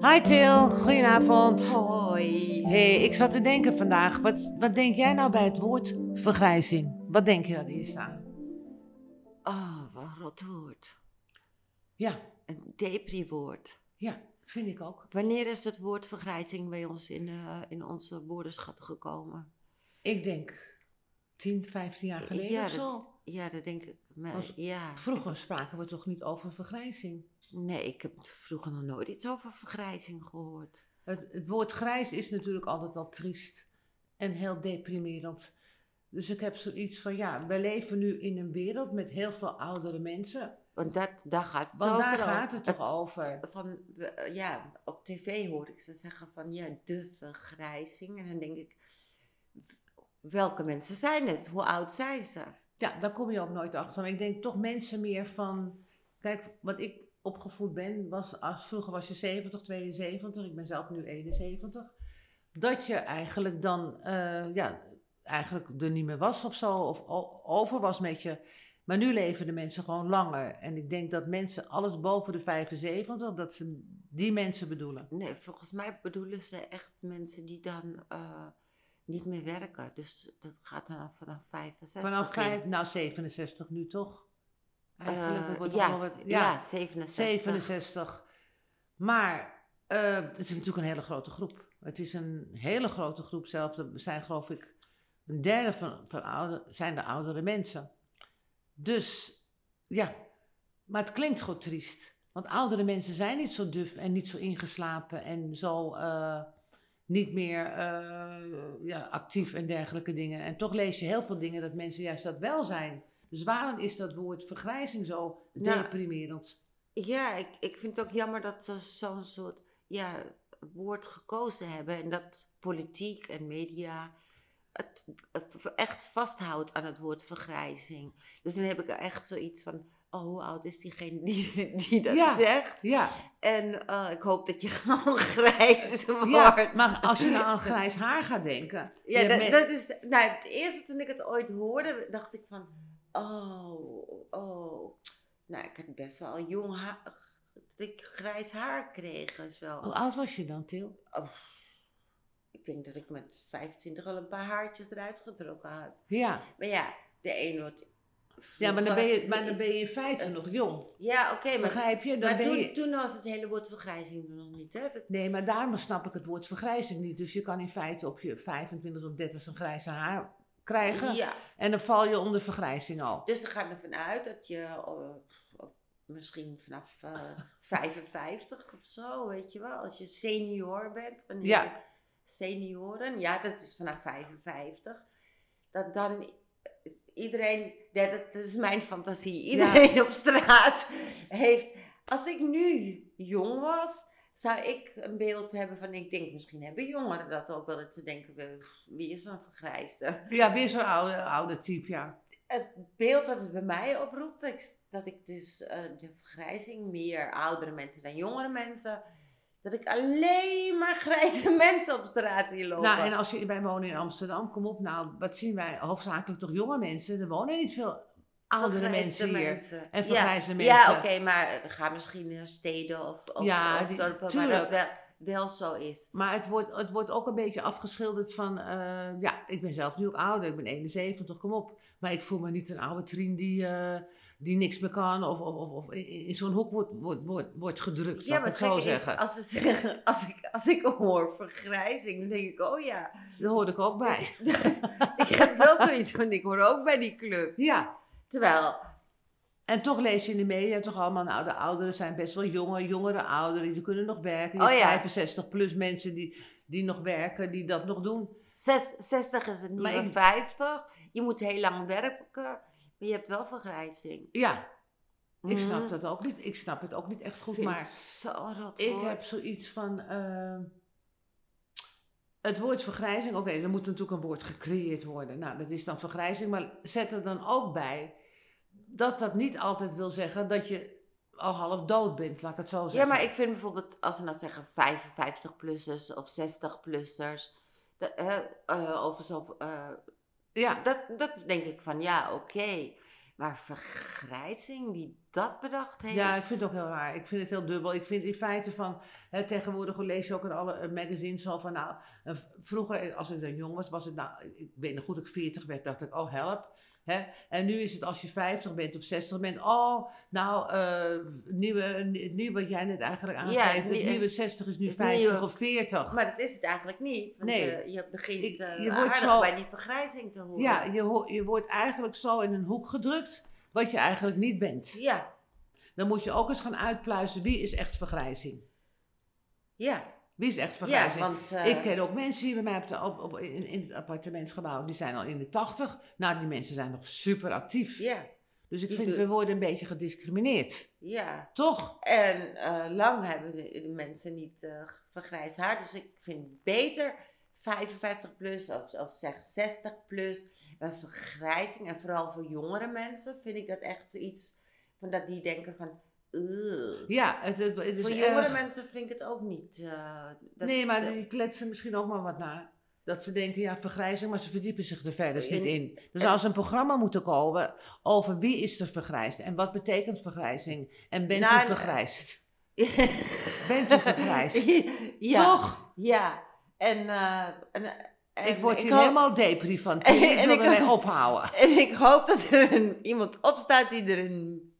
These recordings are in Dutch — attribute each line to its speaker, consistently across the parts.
Speaker 1: Hi Til, goedenavond.
Speaker 2: Hoi.
Speaker 1: hey, ik zat te denken vandaag, wat, wat denk jij nou bij het woord vergrijzing? Wat denk je dat hier staat?
Speaker 2: Oh, wat een rot woord.
Speaker 1: Ja,
Speaker 2: Een depri-woord.
Speaker 1: ja, vind ik ook.
Speaker 2: Wanneer is het woord vergrijzing bij ons in, eh, in onze woordenschat gekomen?
Speaker 1: Ik denk 10, 15 jaar geleden
Speaker 2: Ja,
Speaker 1: of
Speaker 2: dat-
Speaker 1: zo.
Speaker 2: Ja, dat denk ik. Maar,
Speaker 1: Als-
Speaker 2: ja.
Speaker 1: Vroeger spraken we toch niet over vergrijzing?
Speaker 2: Nee, ik heb vroeger nog nooit iets over vergrijzing gehoord.
Speaker 1: Het, het woord grijs is natuurlijk altijd al triest en heel deprimerend. Dus ik heb zoiets van, ja, wij leven nu in een wereld met heel veel oudere mensen.
Speaker 2: Want dat, daar gaat het
Speaker 1: Want daar
Speaker 2: over.
Speaker 1: gaat het toch over?
Speaker 2: Van, we- eh, ja, op tv hoor ik ze zeggen van ja, de vergrijzing. En dan denk ik, welke mensen zijn het? Hoe oud zijn ze?
Speaker 1: Ja, daar kom je ook nooit achter. Maar ik denk toch mensen meer van. Kijk, wat ik opgevoed ben, was als, vroeger was je 70, 72, ik ben zelf nu 71. Dat je eigenlijk dan, eh, ja, eigenlijk er niet meer was of zo, of o- over was met je. Maar nu leven de mensen gewoon langer. En ik denk dat mensen alles boven de 75, dat ze die mensen bedoelen.
Speaker 2: Nee, volgens mij bedoelen ze echt mensen die dan eh, niet meer werken. Dus dat gaat dan vanaf 65.
Speaker 1: Vanaf
Speaker 2: in.
Speaker 1: 5, nou 67 nu toch?
Speaker 2: Eh,
Speaker 1: Eigenlijk, het wordt
Speaker 2: ja,
Speaker 1: allemaal wat-
Speaker 2: ja, 67.
Speaker 1: 67. Maar eh, het is natuurlijk een hele grote groep. Het is een hele grote groep zelf. Er zijn geloof ik een derde van, van oude, zijn de oudere mensen. Dus ja, maar het klinkt gewoon triest. Want oudere mensen zijn niet zo duf en niet zo ingeslapen en zo eh, niet meer eh, ja, actief en dergelijke dingen. En toch lees je heel veel dingen dat mensen juist dat wel zijn. Dus waarom is dat woord vergrijzing zo
Speaker 2: Nou,
Speaker 1: deprimerend?
Speaker 2: Ja, ik, ik vind het ook jammer dat ze zo'n soort ja, woord gekozen hebben. En dat politiek en media het echt vasthoudt aan het woord vergrijzing. Dus dan heb ik echt zoiets van, oh, hoe oud is diegene die, die dat
Speaker 1: Ja.
Speaker 2: zegt?
Speaker 1: Ja,
Speaker 2: En eh, ik hoop dat je gewoon grijs wordt.
Speaker 1: ja, maar als je nou aan grijs haar gaat denken.
Speaker 2: Ja,
Speaker 1: je
Speaker 2: dat,
Speaker 1: men-
Speaker 2: dat is. Nou, het eerste toen ik het ooit hoorde, dacht ik van. Oh, oh. Nou, ik had best wel jong haar. Dat ik grijs haar kreeg en zo.
Speaker 1: Hoe oud was je dan, Til?
Speaker 2: Oh, Ik denk dat ik met 25 al een paar haartjes eruit getrokken had.
Speaker 1: Ja,
Speaker 2: Maar ja, de een wordt.
Speaker 1: ja maar, dan ben je,
Speaker 2: vroeger-
Speaker 1: maar dan ben je in feite nog jong.
Speaker 2: Ja, oké, maar.
Speaker 1: Begrijp je? Dan
Speaker 2: Maar
Speaker 1: ben
Speaker 2: toen,
Speaker 1: je...
Speaker 2: toen was het hele woord vergrijzing nog niet, hè? Dat-
Speaker 1: Nee, maar daarom snap ik het woord vergrijzing niet. Dus je kan in feite op je 25 of 30 een grijze haar krijgen.
Speaker 2: ja.
Speaker 1: En dan val je onder vergrijzing al.
Speaker 2: Dus dan ga ik ervan uit dat je eh, of misschien vanaf eh, 55 of zo, weet je wel, als je senior bent, wanneer
Speaker 1: Ja.
Speaker 2: je senioren, ja, dat is vanaf 55, dat dan iedereen, ja, dat, dat is mijn fantasie, iedereen op straat heeft. Als ik nu jong was, zou ik een beeld hebben van, ik denk misschien hebben jongeren dat ook wel, dat ze denken, eh, wie is zo'n vergrijsde?
Speaker 1: Ja, weer zo'n oude, oude type, ja.
Speaker 2: het beeld dat het bij mij oproept, dat ik, dat ik dus eh, de vergrijzing meer oudere mensen dan jongere mensen, dat ik alleen maar grijze mensen op straat hier lopen.
Speaker 1: Nou, en als je, wij wonen in Amsterdam, kom op nou, wat zien wij? Hoofdzakelijk toch jonge mensen? Er wonen niet veel oudere
Speaker 2: Vergrijsde
Speaker 1: mensen hier.
Speaker 2: mensen.
Speaker 1: En
Speaker 2: Ja.
Speaker 1: vergrijzde
Speaker 2: Ja,
Speaker 1: mensen.
Speaker 2: oké, maar ga misschien naar steden of, of,
Speaker 1: Ja,
Speaker 2: of
Speaker 1: die-
Speaker 2: dorpen waar
Speaker 1: tuurlijk.
Speaker 2: dat wel, wel zo is.
Speaker 1: Maar het wordt, het wordt ook een beetje afgeschilderd van, eh, ja, ik ben zelf nu ook ouder, ik ben 71, kom op. Maar ik voel me niet een oude trien die, eh, die niks meer kan of, of, of, of in in zo'n hoek wordt, wordt, wordt, wordt gedrukt, ja,
Speaker 2: Ja,
Speaker 1: laat
Speaker 2: maar
Speaker 1: ik het zo
Speaker 2: het gekke is,
Speaker 1: zeggen.
Speaker 2: als, ze zeggen, als, ik, als ik hoor vergrijzing, dan denk ik, oh ja,
Speaker 1: Daar hoorde ik ook bij.
Speaker 2: ik heb wel zoiets van, ik hoor ook bij die club.
Speaker 1: Ja,
Speaker 2: Terwijl,
Speaker 1: en toch lees je in de media toch allemaal, nou, de ouderen zijn best wel jonger, jongere ouderen, die kunnen nog werken. Je
Speaker 2: Oh
Speaker 1: hebt
Speaker 2: ja.
Speaker 1: 65 plus mensen die, die nog werken, die dat nog doen.
Speaker 2: Zes, 60 is het
Speaker 1: Maar
Speaker 2: nieuwe
Speaker 1: ik-
Speaker 2: 50. Je moet heel lang werken, maar je hebt wel vergrijzing.
Speaker 1: Ja, ik
Speaker 2: Mhm.
Speaker 1: snap dat ook niet. Ik snap het ook niet echt
Speaker 2: Ik
Speaker 1: goed,
Speaker 2: vind
Speaker 1: maar...
Speaker 2: het zo'n rot
Speaker 1: Ik
Speaker 2: woord.
Speaker 1: heb zoiets van. eh, het woord vergrijzing, oké, er moet natuurlijk een woord gecreëerd worden. Nou, dat is dan vergrijzing, maar zet er dan ook bij dat dat niet altijd wil zeggen dat je al half dood bent, laat ik het zo zeggen.
Speaker 2: Ja, maar ik vind bijvoorbeeld, als we nou zeggen 55-plussers of 60-plussers, dat, eh, eh, over zo, eh,
Speaker 1: Ja,
Speaker 2: dat, dat denk ik van ja, oké. Maar vergrijzing, wie dat bedacht heeft.
Speaker 1: Ja, ik vind het ook heel raar. Ik vind het heel dubbel. Ik vind in feite van, hè, tegenwoordig lees je ook in alle eh, magazines al van, nou, eh, v- vroeger als ik dan jong was, was het nou, ik weet nog goed, ik 40 werd, dacht ik, oh help. Hè? En nu is het als je 50 bent of 60 bent, oh, nou, eh nieuwe, het nieuwe wat jij net eigenlijk aangeeft,
Speaker 2: Ja, het
Speaker 1: het
Speaker 2: nie-
Speaker 1: nieuwe 60 is nu
Speaker 2: het
Speaker 1: 50
Speaker 2: nieuwe-
Speaker 1: of 40.
Speaker 2: Maar dat is het eigenlijk niet. Want
Speaker 1: Nee.
Speaker 2: eh, je begint
Speaker 1: Ik-
Speaker 2: eh,
Speaker 1: je wordt
Speaker 2: aardig
Speaker 1: zo-
Speaker 2: bij die vergrijzing te horen.
Speaker 1: ja, je, ho- je wordt eigenlijk zo in een hoek gedrukt, wat je eigenlijk niet bent.
Speaker 2: ja.
Speaker 1: Dan moet je ook eens gaan uitpluizen, wie is echt vergrijzing?
Speaker 2: ja.
Speaker 1: Wie is echt
Speaker 2: ja
Speaker 1: vergrijzing?
Speaker 2: want, eh,
Speaker 1: ik ken ook mensen hier bij mij op de, op, op- in, in het appartementsgebouw. Die zijn al in de tachtig. Nou, die mensen zijn nog super actief.
Speaker 2: Ja,
Speaker 1: Dus ik
Speaker 2: die
Speaker 1: vind,
Speaker 2: doen-
Speaker 1: we worden een beetje gediscrimineerd.
Speaker 2: ja.
Speaker 1: Toch?
Speaker 2: En eh, lang hebben de, de mensen niet eh vergrijsd haar. Dus ik vind beter 55 plus of, of zeg 60 plus. Een vergrijzing. En vooral voor jongere mensen vind ik dat echt zoiets. Van dat die denken van. "Ugh."
Speaker 1: Ja, het, het, het is
Speaker 2: voor jongere
Speaker 1: Dus erg.
Speaker 2: mensen vind ik het ook niet. eh, dat-
Speaker 1: nee, maar
Speaker 2: dat-
Speaker 1: die kletsen misschien ook maar wat na. Dat ze denken, ja, vergrijzing, maar ze verdiepen zich er verder niet
Speaker 2: En-
Speaker 1: in. Dus
Speaker 2: en-
Speaker 1: als een programma moet er komen over wie is er vergrijsd en wat betekent vergrijzing en bent
Speaker 2: Nou,
Speaker 1: u
Speaker 2: en-
Speaker 1: vergrijsd? Bent u vergrijsd?
Speaker 2: ja,
Speaker 1: Toch?
Speaker 2: ja. En, eh, en, en
Speaker 1: Ik word hier
Speaker 2: hoop-
Speaker 1: helemaal depri van. Ik
Speaker 2: En
Speaker 1: wil
Speaker 2: ik-
Speaker 1: ermee ophouden.
Speaker 2: En ik hoop dat er een, iemand opstaat die er een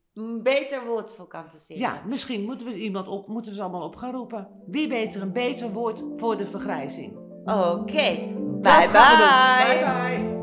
Speaker 2: beter woord voor kan verzinnen.
Speaker 1: Ja, misschien moeten we, iemand op, moeten we ze allemaal op gaan roepen. Wie weet er een beter woord voor de vergrijzing.
Speaker 2: Oké,
Speaker 1: Dat
Speaker 2: bye
Speaker 1: gaan we doen.
Speaker 2: bye.
Speaker 1: bye, bye.